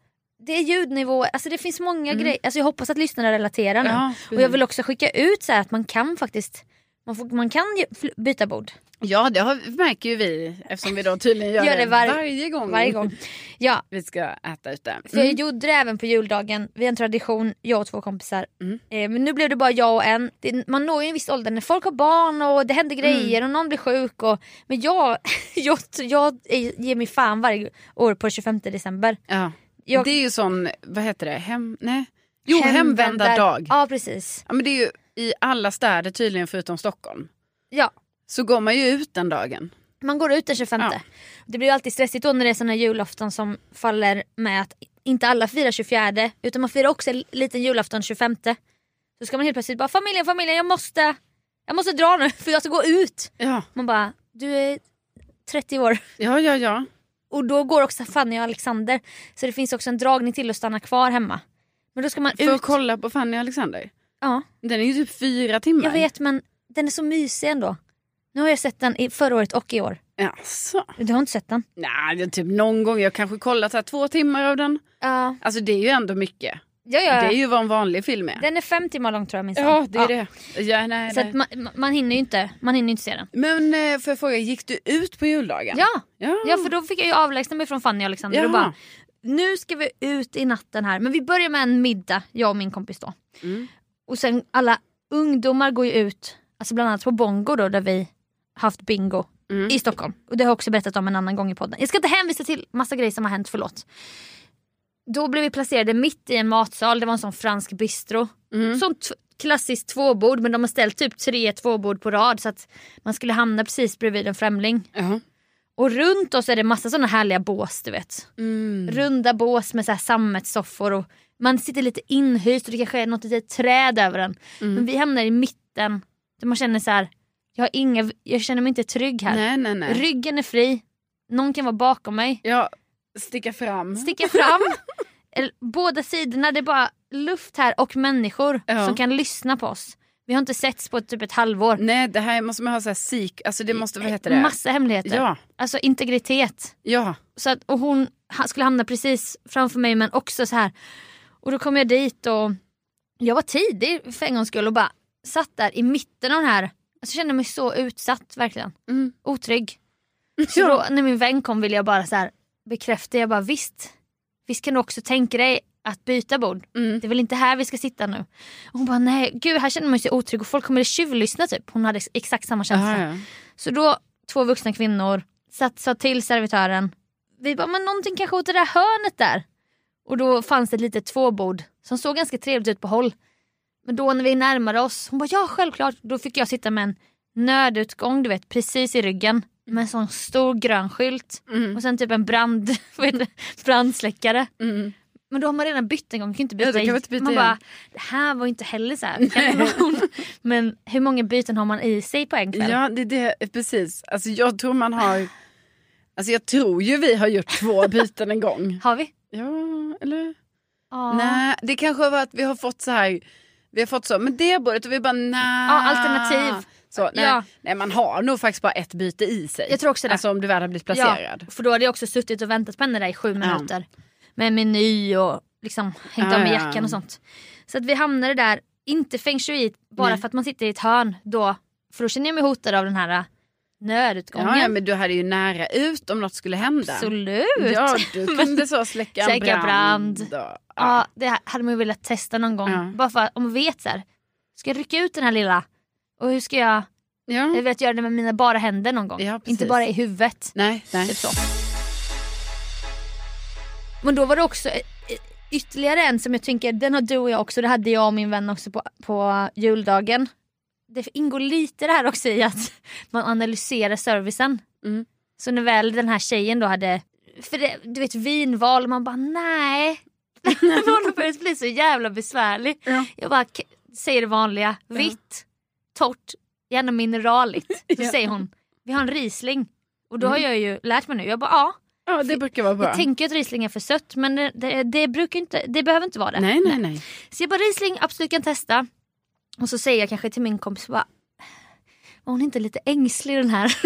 Speaker 2: det är ljudnivå, alltså det finns många grejer. Alltså jag hoppas att lyssnarna relaterar nu.
Speaker 1: Mm. Ja,
Speaker 2: och jag vill också skicka ut så här att man kan faktiskt man, får, man kan ju fl- byta bord
Speaker 1: ja det har, märker ju vi eftersom vi då tydligen gör,
Speaker 2: Gör det var-
Speaker 1: varje, gång
Speaker 2: varje gång. Ja,
Speaker 1: vi ska äta ute. Mm.
Speaker 2: för jag gjorde det även på juldagen. Vi har en tradition, jag och två kompisar.
Speaker 1: Mm.
Speaker 2: Eh, men nu blev det bara jag och en. Det, man når ju en viss ålder när folk har barn och det
Speaker 1: Mm.
Speaker 2: händer grejer och någon blir sjuk. Och, men jag, jag, jag är- ger mig fan varje år på 25 december.
Speaker 1: Ja.
Speaker 2: Jag-
Speaker 1: Det är ju sån, vad heter det, hem, nej? Jo,
Speaker 2: Hemvändar-
Speaker 1: hemvända dag.
Speaker 2: Ja precis.
Speaker 1: Ja, men det är ju i alla städer tydligen förutom Stockholm.
Speaker 2: Ja.
Speaker 1: Så går man ju ut den dagen.
Speaker 2: Man går ut den 25.
Speaker 1: Ja.
Speaker 2: Det blir ju alltid stressigt då när det är såna julafton som faller med att inte alla firar 24 utan man firar också en liten julafton 25. Så ska man helt plötsligt bara familjen, familjen jag måste, jag måste dra nu för jag ska gå ut.
Speaker 1: Ja,
Speaker 2: Man bara du är 30 år
Speaker 1: ja, ja. ja.
Speaker 2: och då går också Fanny och Alexander så det finns också en dragning till att stanna kvar hemma. Men då ska man
Speaker 1: För
Speaker 2: ut.
Speaker 1: att kolla på Fanny och Alexander.
Speaker 2: Ja,
Speaker 1: Den är ju typ fyra timmar.
Speaker 2: jag vet men den är så mysig ändå. Nu har jag sett den i förra året och i år.
Speaker 1: Jaså?
Speaker 2: Du har inte sett den?
Speaker 1: Nej, det är typ någon gång. Jag kanske kollat så här, två timmar av den.
Speaker 2: Ja.
Speaker 1: Alltså det är ju ändå mycket.
Speaker 2: Ja, ja,
Speaker 1: Det är
Speaker 2: ja.
Speaker 1: ju vad en vanlig film är.
Speaker 2: Den är fem timmar lång tror jag minsann.
Speaker 1: Ja, det är det. Ja, nej,
Speaker 2: Så
Speaker 1: nej.
Speaker 2: att man, ma- man hinner ju inte, man hinner ju inte se den.
Speaker 1: Men eh, får jag fråga, gick du ut på juldagen?
Speaker 2: Ja.
Speaker 1: Ja.
Speaker 2: ja, för då fick jag ju avlägsna mig från Fanny och Alexander och
Speaker 1: Jaha.
Speaker 2: bara nu ska vi ut i natten här. Men vi börjar med en middag, jag och min kompis då.
Speaker 1: Mm.
Speaker 2: Och sen alla ungdomar går ju ut, alltså bland annat på Bongo då där vi haft bingo
Speaker 1: Mm.
Speaker 2: i Stockholm. Och det har jag också berättat om en annan gång i podden. Jag ska inte hänvisa till massa grejer som har hänt, förlåt. Då blev vi placerade mitt i en matsal, det var en sån fransk bistro.
Speaker 1: Mm.
Speaker 2: Sånt t- klassiskt tvåbord men de har ställt typ tre tvåbord på rad så att man skulle hamna precis bredvid en främling.
Speaker 1: Ja.
Speaker 2: Och runt oss är det massa såna härliga bås du vet.
Speaker 1: Mm.
Speaker 2: Runda bås med så här sammetssoffor och man sitter lite inhyst och det kanske är något litet träd över en.
Speaker 1: Mm.
Speaker 2: Men vi hamnar i mitten där man känner så här, jag, har inga, jag känner mig inte trygg här.
Speaker 1: Nej, nej, nej.
Speaker 2: Ryggen är fri, någon kan vara bakom mig.
Speaker 1: Ja, Sticka fram.
Speaker 2: sticka Mm. fram. Eller, Båda sidorna, det är bara luft här och människor
Speaker 1: Ja.
Speaker 2: som kan lyssna på oss. Vi har inte setts på typ ett halvår.
Speaker 1: Nej, det här måste man ha så här sik, alltså det måste, vad heter det?
Speaker 2: Massa hemligheter.
Speaker 1: Ja,
Speaker 2: Alltså integritet.
Speaker 1: ja.
Speaker 2: Så att, och hon ha- skulle hamna precis framför mig men också så här. Och då kom jag dit och jag var tidig för en gångs skull och bara satt där i mitten av den här. Alltså, jag kände mig så utsatt verkligen.
Speaker 1: Mm.
Speaker 2: Otrygg. Så då, när min vän kom ville jag bara så här bekräfta. Jag bara visst. Visst kan du också tänka dig att byta bord.
Speaker 1: Mm.
Speaker 2: Det är väl inte här vi ska sitta nu. Och hon bara nej gud här känner man sig otrygg och folk kommer tjuvlyssna typ. Hon hade ex- exakt samma känsla.
Speaker 1: Aha, ja.
Speaker 2: Så då, två vuxna kvinnor, satt, sa till servitören. Vi bara, men någonting kanske åt det där hörnet där. Och då fanns det ett litet tvåbord som såg ganska trevligt ut på håll. Men då när vi närmade oss, hon bara ja självklart. Då fick jag sitta med en nödutgång du vet precis i ryggen. Med en sån stor grön skylt.
Speaker 1: Mm.
Speaker 2: Och sen typ en brand, vad heter det? brandsläckare.
Speaker 1: Mm.
Speaker 2: Men då har man redan bytt en gång, man kan inte byta,
Speaker 1: Ja, då kan man inte byta
Speaker 2: Man
Speaker 1: igen.
Speaker 2: bara, det här var inte heller så här kanon. Men hur många byten har man i sig på en kväll?
Speaker 1: Ja, det är det, precis. Alltså jag tror man har, alltså jag tror ju vi har gjort två byten en gång.
Speaker 2: Har vi?
Speaker 1: Ja, eller?
Speaker 2: Ja.
Speaker 1: Nej, det kanske var att vi har fått så här, vi har fått så, men det bordet och vi bara nej.
Speaker 2: Ja, alternativ.
Speaker 1: Så, nej,
Speaker 2: Ja.
Speaker 1: nej, man har nog faktiskt bara ett byte i sig.
Speaker 2: Jag tror också det.
Speaker 1: Alltså om du väl har blivit placerad.
Speaker 2: Ja, för då hade jag också suttit och väntat på henne där i sju minuter. Med meny och liksom hängt
Speaker 1: Ja,
Speaker 2: av med
Speaker 1: ja.
Speaker 2: jackan och sånt. Så att vi hamnade där, inte feng shui bara
Speaker 1: Nej.
Speaker 2: för att man sitter i ett hörn då. För då känner jag mig hotad av den här äh, nödutgången.
Speaker 1: Ja, ja, men du hade ju nära ut om något skulle hända.
Speaker 2: Absolut.
Speaker 1: Ja, du kunde så släcka en
Speaker 2: Släcka
Speaker 1: brand.
Speaker 2: brand.
Speaker 1: och-
Speaker 2: Ja, det hade man ju velat testa någon gång.
Speaker 1: Ja.
Speaker 2: Bara för att- om man vet så här. Ska jag rycka ut den här lilla? Och hur ska jag?
Speaker 1: Ja.
Speaker 2: Jag vet göra det med mina bara händer någon gång.
Speaker 1: Ja, precis.
Speaker 2: inte bara i huvudet.
Speaker 1: Nej, nej.
Speaker 2: Typ så. Men då var det också eh, ytterligare en som jag tänker, den har du och jag också, det hade jag och min vän också på, på juldagen. Det ingår lite det här också i att man analyserar servicen.
Speaker 1: Mm.
Speaker 2: Så när väl den här tjejen då hade, för det, du vet vinval, man bara nej. Hon har börjat bli så jävla besvärlig.
Speaker 1: Ja.
Speaker 2: Jag bara "K- säger det vanliga, vitt, torrt, gärna mineraligt. Då
Speaker 1: Ja.
Speaker 2: säger hon, vi har en risling. Och då har
Speaker 1: Mm.
Speaker 2: jag ju lärt mig nu, jag bara ja.
Speaker 1: Ja, det brukar vara bra.
Speaker 2: Jag tänker att Riesling är för sött men det, det, det, brukar inte, det behöver inte vara det.
Speaker 1: Nej, nej, nej.
Speaker 2: Så jag bara Riesling, absolut kan testa. Och så säger jag kanske till min kompis bara, var hon inte lite ängslig den här,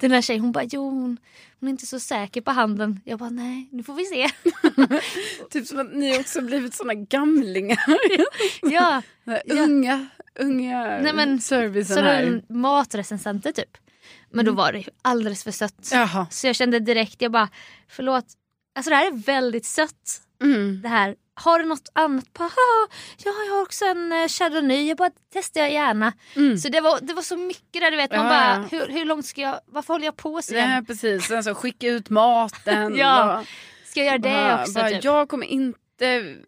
Speaker 2: den här tjejen? Hon bara jo hon, hon är inte så säker på handen. Jag bara nej nu får vi se.
Speaker 1: Typ som att ni också blivit såna gamlingar.
Speaker 2: ja,
Speaker 1: Den här
Speaker 2: Ja.
Speaker 1: Unga, unga
Speaker 2: Nej, men-
Speaker 1: servicen
Speaker 2: så var
Speaker 1: här.
Speaker 2: en matrecensenter typ. Men då
Speaker 1: Mm.
Speaker 2: var det ju alldeles för sött.
Speaker 1: Jaha.
Speaker 2: Så jag kände direkt, jag bara förlåt. Alltså det här är väldigt sött.
Speaker 1: Mm.
Speaker 2: det här. Har du något annat? Bara, "Ja, ja, jag har också en eh, chardonnay. Jag bara testar jag gärna.
Speaker 1: Mm.
Speaker 2: Så det var, det var så mycket där du vet. Man
Speaker 1: Ja,
Speaker 2: bara,
Speaker 1: ja.
Speaker 2: hur, hur långt ska jag, varför håller jag på så länge?
Speaker 1: Nej, precis. Sen så skicka ut maten.
Speaker 2: Ja,
Speaker 1: och-
Speaker 2: Ska jag göra det
Speaker 1: bara-
Speaker 2: också?
Speaker 1: bara,
Speaker 2: typ.
Speaker 1: Jag kommer inte,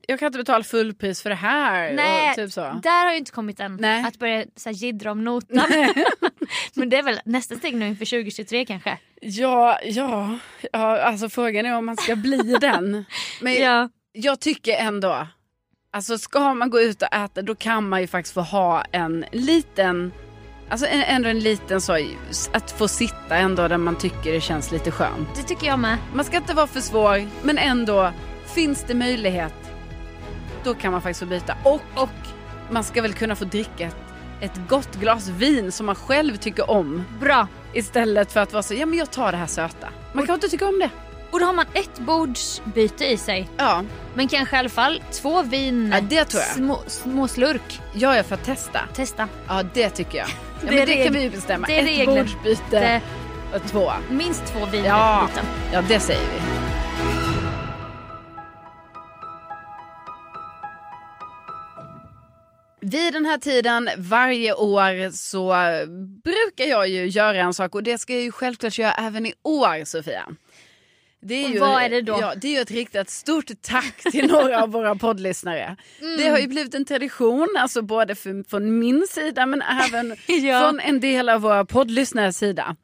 Speaker 1: jag kan inte betala fullpris för det här.
Speaker 2: Nej,
Speaker 1: och typ så.
Speaker 2: Där har jag inte kommit än.
Speaker 1: Nej.
Speaker 2: Att börja så här, jiddra om notan. Men det är väl nästa steg nu inför 2023 kanske.
Speaker 1: Ja, ja, ja, alltså frågan är om man ska bli den. Men
Speaker 2: Ja.
Speaker 1: jag tycker ändå, alltså ska man gå ut och äta då kan man ju faktiskt få ha en liten, alltså en, ändå en liten så, att få sitta ändå där man tycker det känns lite skönt.
Speaker 2: Det tycker jag med.
Speaker 1: Man ska inte vara för svår, men ändå, finns det möjlighet, då kan man faktiskt få byta. Och, och man ska väl kunna få dricka ett, ett gott glas vin som man själv tycker om.
Speaker 2: Bra.
Speaker 1: Istället för att vara så, ja men jag tar det här söta. Man kan inte tycka om det.
Speaker 2: Och då har man ett bordsbyte i sig.
Speaker 1: Ja,
Speaker 2: Men kanske i alla fall två vin.
Speaker 1: Ja, det tror jag.
Speaker 2: Små, små slurk.
Speaker 1: jag är för att testa.
Speaker 2: Testa.
Speaker 1: Ja, det tycker jag. Ja,
Speaker 2: Det är
Speaker 1: men det kan
Speaker 2: reg-
Speaker 1: vi ju bestämma.
Speaker 2: det är
Speaker 1: Ett
Speaker 2: regler.
Speaker 1: bordsbyte och två.
Speaker 2: Minst två vin
Speaker 1: Ja.
Speaker 2: byten.
Speaker 1: Ja, det säger vi. Vid den här tiden varje år så brukar jag ju göra en sak och det ska jag ju självklart göra även i år Sofia. Det
Speaker 2: Och vad är det då?
Speaker 1: Ja, det är ju ett riktigt stort tack till några av våra poddlyssnare.
Speaker 2: Mm.
Speaker 1: Det har ju blivit en tradition, alltså både för, från min sida men även
Speaker 2: Ja.
Speaker 1: från en del av våra poddlyssnares sida.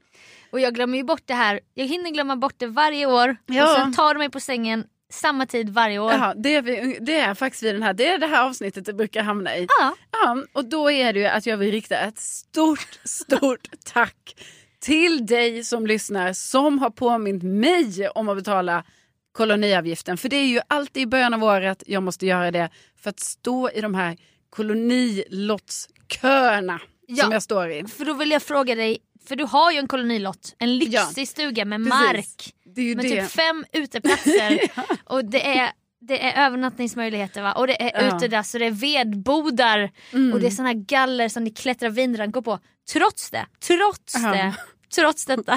Speaker 2: Och jag glömmer ju bort det här. Jag hinner glömma bort det varje år.
Speaker 1: Ja.
Speaker 2: Och sen tar de mig på sängen samma tid varje år.
Speaker 1: Ja, det, är vi, det är faktiskt vid den här, det är det här avsnittet det brukar hamna i.
Speaker 2: Ja.
Speaker 1: Ja, och då är det ju att jag vill rikta ett stort, stort tack till dig som lyssnar som har påmint mig om att betala koloniavgiften. För det är ju alltid i början av året jag måste göra det för att stå i de här kolonilottsköerna
Speaker 2: Ja.
Speaker 1: som jag står i.
Speaker 2: För då vill jag fråga dig, för du har ju en kolonilott, en lyxig stuga med
Speaker 1: precis.
Speaker 2: mark.
Speaker 1: Det är ju
Speaker 2: Med
Speaker 1: det.
Speaker 2: typ fem uteplatser och det är, det är övernattningsmöjligheter va? och det är
Speaker 1: Ja.
Speaker 2: utedass och det är vedbodar
Speaker 1: Mm.
Speaker 2: och det är såna här galler som ni klättrar vinrankor på. Trots det, trots
Speaker 1: Ja.
Speaker 2: det, trots detta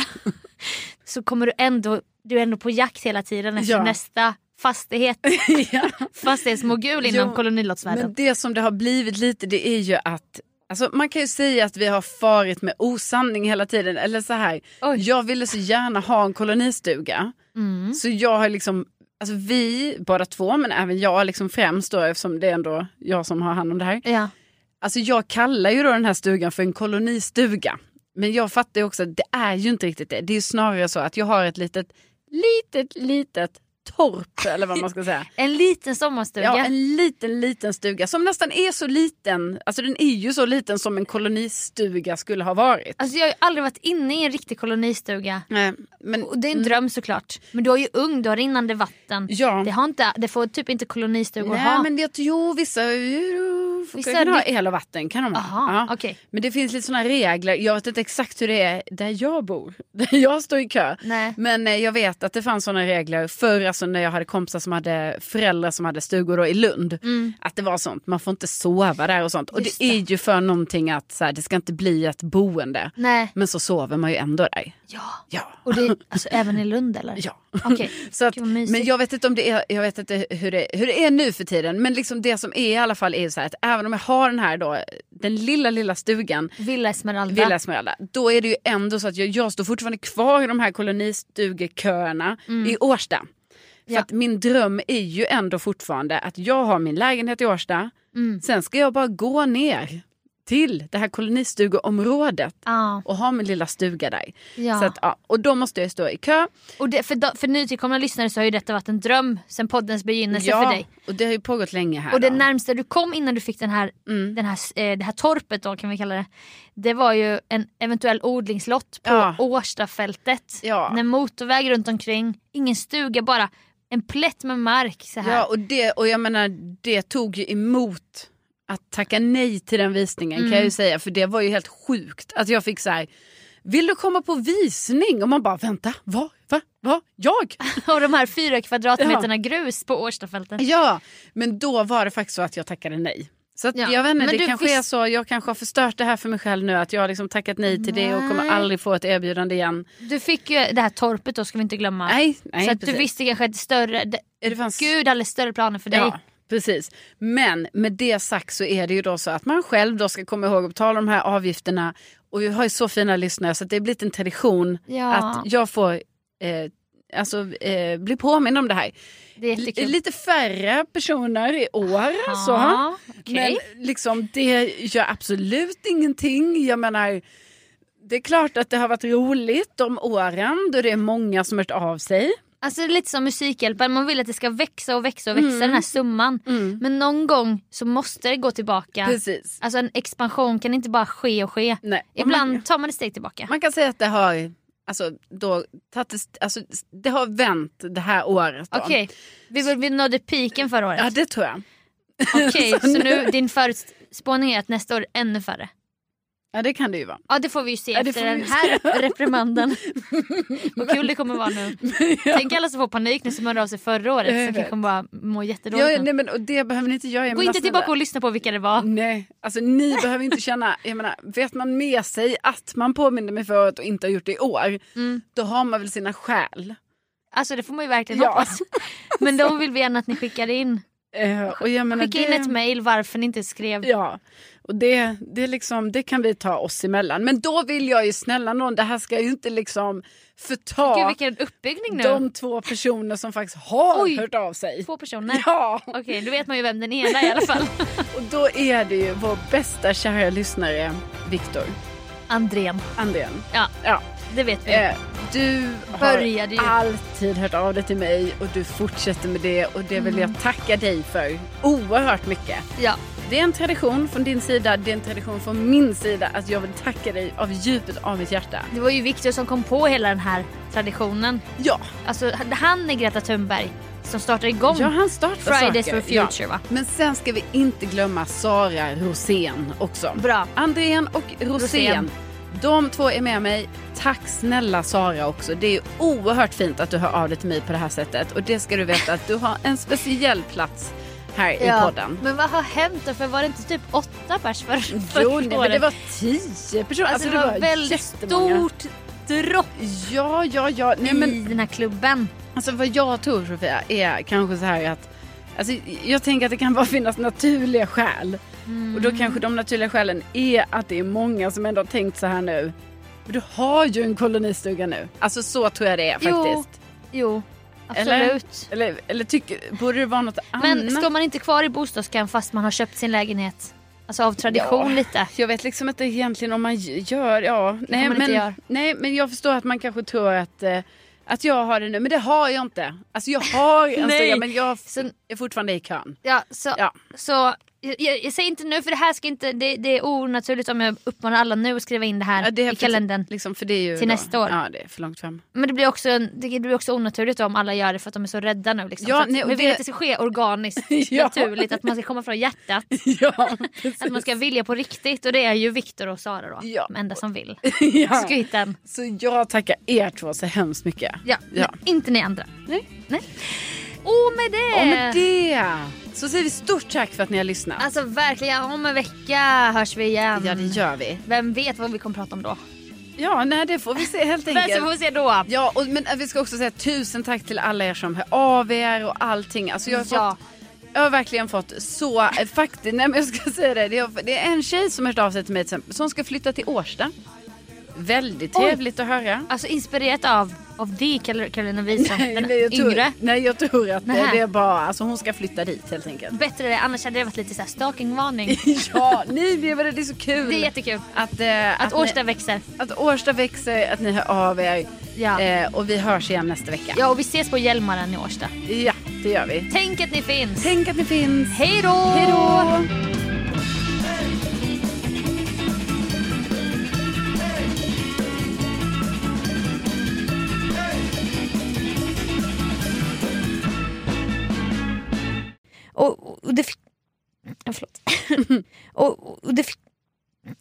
Speaker 2: så kommer du ändå, du är ändå på jakt hela tiden efter
Speaker 1: Ja.
Speaker 2: nästa fastighet,
Speaker 1: ja.
Speaker 2: fastighetsmogul inom
Speaker 1: Jo,
Speaker 2: kolonilottsvärlden.
Speaker 1: Men det som det har blivit lite det är ju att Alltså, man kan ju säga att vi har farit med osanning hela tiden. Eller så här,
Speaker 2: Oj.
Speaker 1: jag ville så gärna ha en kolonistuga.
Speaker 2: Mm.
Speaker 1: Så jag har liksom, alltså vi båda två, men även jag liksom främst då eftersom det är ändå jag som har hand om det här.
Speaker 2: Ja.
Speaker 1: Alltså jag kallar ju då den här stugan för en kolonistuga. Men jag fattar ju också att det är ju inte riktigt det. Det är ju snarare så att jag har ett litet, litet, litet torp eller vad man ska säga.
Speaker 2: En liten sommarstuga.
Speaker 1: Ja, en liten, liten stuga som nästan är så liten. Alltså den är ju så liten som en kolonistuga skulle ha varit.
Speaker 2: Alltså jag har ju aldrig varit inne i en riktig kolonistuga.
Speaker 1: Nej, men
Speaker 2: Och det är en dröm såklart. Men du är ju ung, du har rinnande vatten.
Speaker 1: ja.
Speaker 2: Det, har inte, det får typ inte kolonistugor
Speaker 1: Nej
Speaker 2: ha.
Speaker 1: men jag tror vissa,
Speaker 2: Vissa
Speaker 1: vissa kan ha
Speaker 2: det-
Speaker 1: el och vatten. Kan de ha.
Speaker 2: Aha,
Speaker 1: Ja.
Speaker 2: okej.
Speaker 1: Men det finns lite såna regler. Jag vet inte exakt hur det är där jag bor. Där jag står i kö.
Speaker 2: Nej.
Speaker 1: Men eh, jag vet att det fanns såna regler förr alltså när jag hade kompisar som hade föräldrar som hade stugor då, i Lund.
Speaker 2: Mm.
Speaker 1: Att det var sånt, man får inte sova där och sånt. Och
Speaker 2: Just
Speaker 1: det är ju för någonting att så här, det ska inte bli ett boende.
Speaker 2: Nej.
Speaker 1: Men så sover man ju ändå där.
Speaker 2: Ja.
Speaker 1: Ja.
Speaker 2: Och det, alltså även i Lund eller?
Speaker 1: ja.
Speaker 2: Okej.
Speaker 1: Så att,
Speaker 2: Gud, vad mysigt.
Speaker 1: men jag vet inte, om det är, jag vet inte hur, det, hur det är nu för tiden. Men liksom det som är i alla fall är ju så här att även om jag har den här då, den lilla lilla stugan
Speaker 2: Villa Esmeralda.
Speaker 1: Villa Esmeralda. Då är det ju ändå så att jag, jag står fortfarande kvar i de här kolonistugeköerna i Årsta. För
Speaker 2: Mm. Ja.
Speaker 1: att min dröm är ju ändå fortfarande att jag har min lägenhet i Årsta.
Speaker 2: Mm.
Speaker 1: Sen ska jag bara gå ner till det här kolonistugeområdet
Speaker 2: Ja.
Speaker 1: och ha min lilla stuga där.
Speaker 2: ja.
Speaker 1: Så att, ja, och då måste jag stå i kö.
Speaker 2: och det, för, da- för nytillkomna lyssnare så har ju detta varit en dröm sen poddens begynnelse för dig.
Speaker 1: och det har ju pågått länge här.
Speaker 2: Och det
Speaker 1: då.
Speaker 2: närmsta du kom innan du fick den här,
Speaker 1: Mm.
Speaker 2: den här, eh, det här torpet då kan vi kalla det. Det var ju en eventuell odlingslott på
Speaker 1: Ja.
Speaker 2: Årstafältet.
Speaker 1: Ja.
Speaker 2: Med motorväg runt omkring, ingen stuga bara en plätt med mark så här.
Speaker 1: Ja, och, det, och jag menar, det tog ju emot att tacka nej till den visningen kan jag
Speaker 2: Mm.
Speaker 1: ju säga. För det var ju helt sjukt att jag fick så här, vill du komma på visning? Och man bara, vänta, vad, va, va, jag?
Speaker 2: Och de här fyra kvadratmeterna grus på Årstafältet.
Speaker 1: ja, men då var det faktiskt så att jag tackade nej. Så att,
Speaker 2: Ja,
Speaker 1: jag vet inte,
Speaker 2: men
Speaker 1: det
Speaker 2: du
Speaker 1: kanske
Speaker 2: visst-
Speaker 1: är så, jag kanske har förstört det här för mig själv nu. Att jag har liksom tackat nej till det och kommer
Speaker 2: Nej.
Speaker 1: aldrig få ett erbjudande igen.
Speaker 2: Du fick ju det här torpet då ska vi inte glömma.
Speaker 1: Nej, nej
Speaker 2: så att du
Speaker 1: precis.
Speaker 2: visste kanske att större, det,
Speaker 1: det fanns...
Speaker 2: Gud hade större planer för dig.
Speaker 1: Ja, precis. Men med det sagt så är det ju då så att man själv då ska komma ihåg att betala de här avgifterna. Och vi har ju så fina lyssnare så att det har blivit en tradition
Speaker 2: Ja.
Speaker 1: att jag får eh, alltså, eh, bli påmind om det här.
Speaker 2: Det är jättekul.
Speaker 1: L- lite färre personer i år. Så.
Speaker 2: Ja, okej.
Speaker 1: Men liksom, det gör absolut ingenting. Jag menar, det är klart att det har varit roligt de åren då det är många som hört av sig.
Speaker 2: Alltså det är lite som Musikhjälpen, man vill att det ska växa och växa och
Speaker 1: Mm.
Speaker 2: växa den här summan. Men någon gång så måste det gå tillbaka.
Speaker 1: Precis.
Speaker 2: Alltså en expansion kan inte bara ske och ske.
Speaker 1: Nej. Och man-
Speaker 2: Ibland tar man ett steg tillbaka.
Speaker 1: Man kan säga att det har, alltså, då, tagit ett- alltså, det har vänt det här året. då.
Speaker 2: Okej, vi, vi- vi nådde piken förra
Speaker 1: Ja,
Speaker 2: året.
Speaker 1: det tror jag.
Speaker 2: Okej, så nu din förutspåning är att nästa år är ännu färre.
Speaker 1: Ja, det kan det ju vara.
Speaker 2: Ja det får vi ju se
Speaker 1: Ja, det
Speaker 2: efter
Speaker 1: får vi
Speaker 2: den
Speaker 1: ju
Speaker 2: här reprimanden. Vad kul det kommer vara nu. Tänk alla som får panik nu som hörde av sig förra året
Speaker 1: Jag
Speaker 2: som
Speaker 1: vet.
Speaker 2: kanske bara må jättedåligt
Speaker 1: Ja,
Speaker 2: nu.
Speaker 1: nej, alltså, men, och det behöver ni inte göra. jag
Speaker 2: Gå
Speaker 1: menar,
Speaker 2: inte
Speaker 1: snälla.
Speaker 2: tillbaka och lyssna på vilka det var.
Speaker 1: Nej, alltså ni behöver inte känna, jag menar, vet man med sig att man påminner mig förut och inte har gjort det i år,
Speaker 2: Mm.
Speaker 1: då har man väl sina skäl.
Speaker 2: Alltså det får man ju verkligen
Speaker 1: Ja.
Speaker 2: hoppas. Men då vill vi gärna att ni skickar in.
Speaker 1: Eh, och jag menar,
Speaker 2: Skicka in
Speaker 1: det-
Speaker 2: ett mejl varför ni inte skrev.
Speaker 1: Ja, och det, det, är liksom, det kan vi ta oss emellan. Men då vill jag ju snälla någon, det här ska ju inte liksom förta
Speaker 2: Gud vilken uppbyggning nu.
Speaker 1: de två personer som faktiskt har
Speaker 2: Oj.
Speaker 1: hört av sig.
Speaker 2: Två personer.
Speaker 1: Ja,
Speaker 2: Okej, då vet man ju vem den ena är i alla fall.
Speaker 1: och då är det ju vår bästa kära lyssnare Viktor
Speaker 2: Andrén.
Speaker 1: Andrén.
Speaker 2: Ja,
Speaker 1: Ja,
Speaker 2: det vet vi.
Speaker 1: eh, du har
Speaker 2: Började ju.
Speaker 1: alltid hört av dig till
Speaker 2: Mm.
Speaker 1: mig och du fortsätter med det och det vill jag tacka dig för oerhört mycket.
Speaker 2: Ja.
Speaker 1: Det är en tradition från din sida, det är en tradition från min sida att jag vill tacka dig av djupet av mitt hjärta.
Speaker 2: Det var ju Victor som kom på hela den här traditionen.
Speaker 1: Ja,
Speaker 2: Alltså han är Greta Thunberg som startar igång
Speaker 1: ja han startar
Speaker 2: Fridays
Speaker 1: saker.
Speaker 2: for Future va?
Speaker 1: Ja. Men sen ska vi inte glömma Sara Rosén också.
Speaker 2: Bra.
Speaker 1: Andrén och Rosén.
Speaker 2: Rosén.
Speaker 1: De två är med mig. Tack snälla Sara också. Det är oerhört fint att du hör av dig till mig på det här sättet. Och det ska du veta att du har en speciell plats här i podden.
Speaker 2: Men vad har hänt då? För var det inte typ åtta pers för,
Speaker 1: Jo,
Speaker 2: förra
Speaker 1: nej, men
Speaker 2: året?
Speaker 1: det var tio personer.
Speaker 2: alltså, det var, väldigt
Speaker 1: jättemånga.
Speaker 2: stort dropp
Speaker 1: Ja, ja, ja. Nej, men
Speaker 2: i den här klubben.
Speaker 1: Alltså vad jag tror Sofia är kanske så här att Alltså, jag tänker att det kan bara finnas naturliga skäl. Och
Speaker 2: Mm.
Speaker 1: då kanske de naturliga skälen är att det är många som ändå har tänkt så här nu. Men du har ju en kolonistuga nu. Alltså så tror jag det är
Speaker 2: Jo,
Speaker 1: faktiskt.
Speaker 2: Jo, absolut.
Speaker 1: Eller? Eller, eller tycker, borde det vara något annat?
Speaker 2: Men står man inte kvar i bostadskön fast man har köpt sin lägenhet? Alltså av tradition
Speaker 1: Ja.
Speaker 2: lite.
Speaker 1: Jag vet liksom inte egentligen om man gör, ja. Nej,
Speaker 2: man inte
Speaker 1: men,
Speaker 2: gör.
Speaker 1: nej men jag förstår att man kanske tror att, eh, att jag har det nu. Men det har jag inte. Alltså jag har en
Speaker 2: Nej.
Speaker 1: stuga men jag
Speaker 2: Så-
Speaker 1: är fortfarande i kön.
Speaker 2: Ja, så,
Speaker 1: Ja.
Speaker 2: så jag, jag, jag säger inte nu för det här ska inte, det, det är onaturligt om jag uppmanar alla nu att skriva in det här
Speaker 1: Ja, det är
Speaker 2: i
Speaker 1: för-
Speaker 2: kalendern.
Speaker 1: Liksom, för det är ju
Speaker 2: Till
Speaker 1: då-
Speaker 2: nästa år.
Speaker 1: Ja, det är för långt fram.
Speaker 2: Men det blir, också, en- det blir också onaturligt om alla gör det för att de är så rädda nu. Liksom.
Speaker 1: Ja,
Speaker 2: så att,
Speaker 1: nej, och
Speaker 2: vi
Speaker 1: det-
Speaker 2: vill att det ska ske organiskt,
Speaker 1: Ja.
Speaker 2: naturligt, att man ska komma från hjärtat.
Speaker 1: ja, precis.
Speaker 2: Att man ska vilja på riktigt och det är ju Viktor och Sara då,
Speaker 1: Ja.
Speaker 2: de enda som vill.
Speaker 1: ja.
Speaker 2: Skryten.
Speaker 1: Så jag tackar er två så hemskt mycket.
Speaker 2: Ja,
Speaker 1: Ja.
Speaker 2: men inte ni andra.
Speaker 1: Nej.
Speaker 2: Nej. Och med det!
Speaker 1: Och med det så säger vi stort tack för att ni har lyssnat.
Speaker 2: Alltså verkligen, om en vecka hörs vi igen.
Speaker 1: Ja, det gör vi.
Speaker 2: Vem vet vad vi kommer prata om då?
Speaker 1: Ja, nej, det får vi se helt
Speaker 2: Men så
Speaker 1: enkelt.
Speaker 2: får vi se då.
Speaker 1: Ja, och, men eh, vi ska också säga tusen tack till alla er som hör av er och allting. Alltså jag har,
Speaker 2: Ja.
Speaker 1: fått, jag har verkligen fått så, eh, faktiskt, nej men jag ska säga det. Det är, det är en tjej som har hört av sig till mig till exempel, som ska flytta till Årsta. Väldigt
Speaker 2: Oj.
Speaker 1: trevligt att höra.
Speaker 2: Alltså inspirerat av, av dig Karol- Carolina Wiström,
Speaker 1: Nej,
Speaker 2: den
Speaker 1: nej, jag tror,
Speaker 2: yngre.
Speaker 1: nej, jag tror att det,
Speaker 2: Nähä.
Speaker 1: det är bara, alltså hon ska flytta dit helt enkelt.
Speaker 2: Bättre det, annars hade det varit lite så här stalkingvarning.
Speaker 1: ja, nej men det är så kul.
Speaker 2: Det är jättekul.
Speaker 1: att, eh,
Speaker 2: Att Årsta växer.
Speaker 1: ni, att Årsta växer, att ni hör av er
Speaker 2: Ja.
Speaker 1: eh, och vi hörs igen nästa vecka.
Speaker 2: ja, och vi ses på Hjälmaren i Årsta.
Speaker 1: Ja, det gör vi.
Speaker 2: Tänk att ni finns.
Speaker 1: Tänk att ni finns.
Speaker 2: Hej då!
Speaker 1: Hej då!
Speaker 2: Och, och det... fi- Ja, förlåt. och, och det... fi-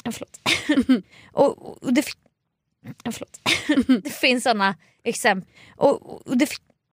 Speaker 2: Ja, förlåt. och, och det... fi- Ja, förlåt. det finns såna exempel. Och, och det... fi-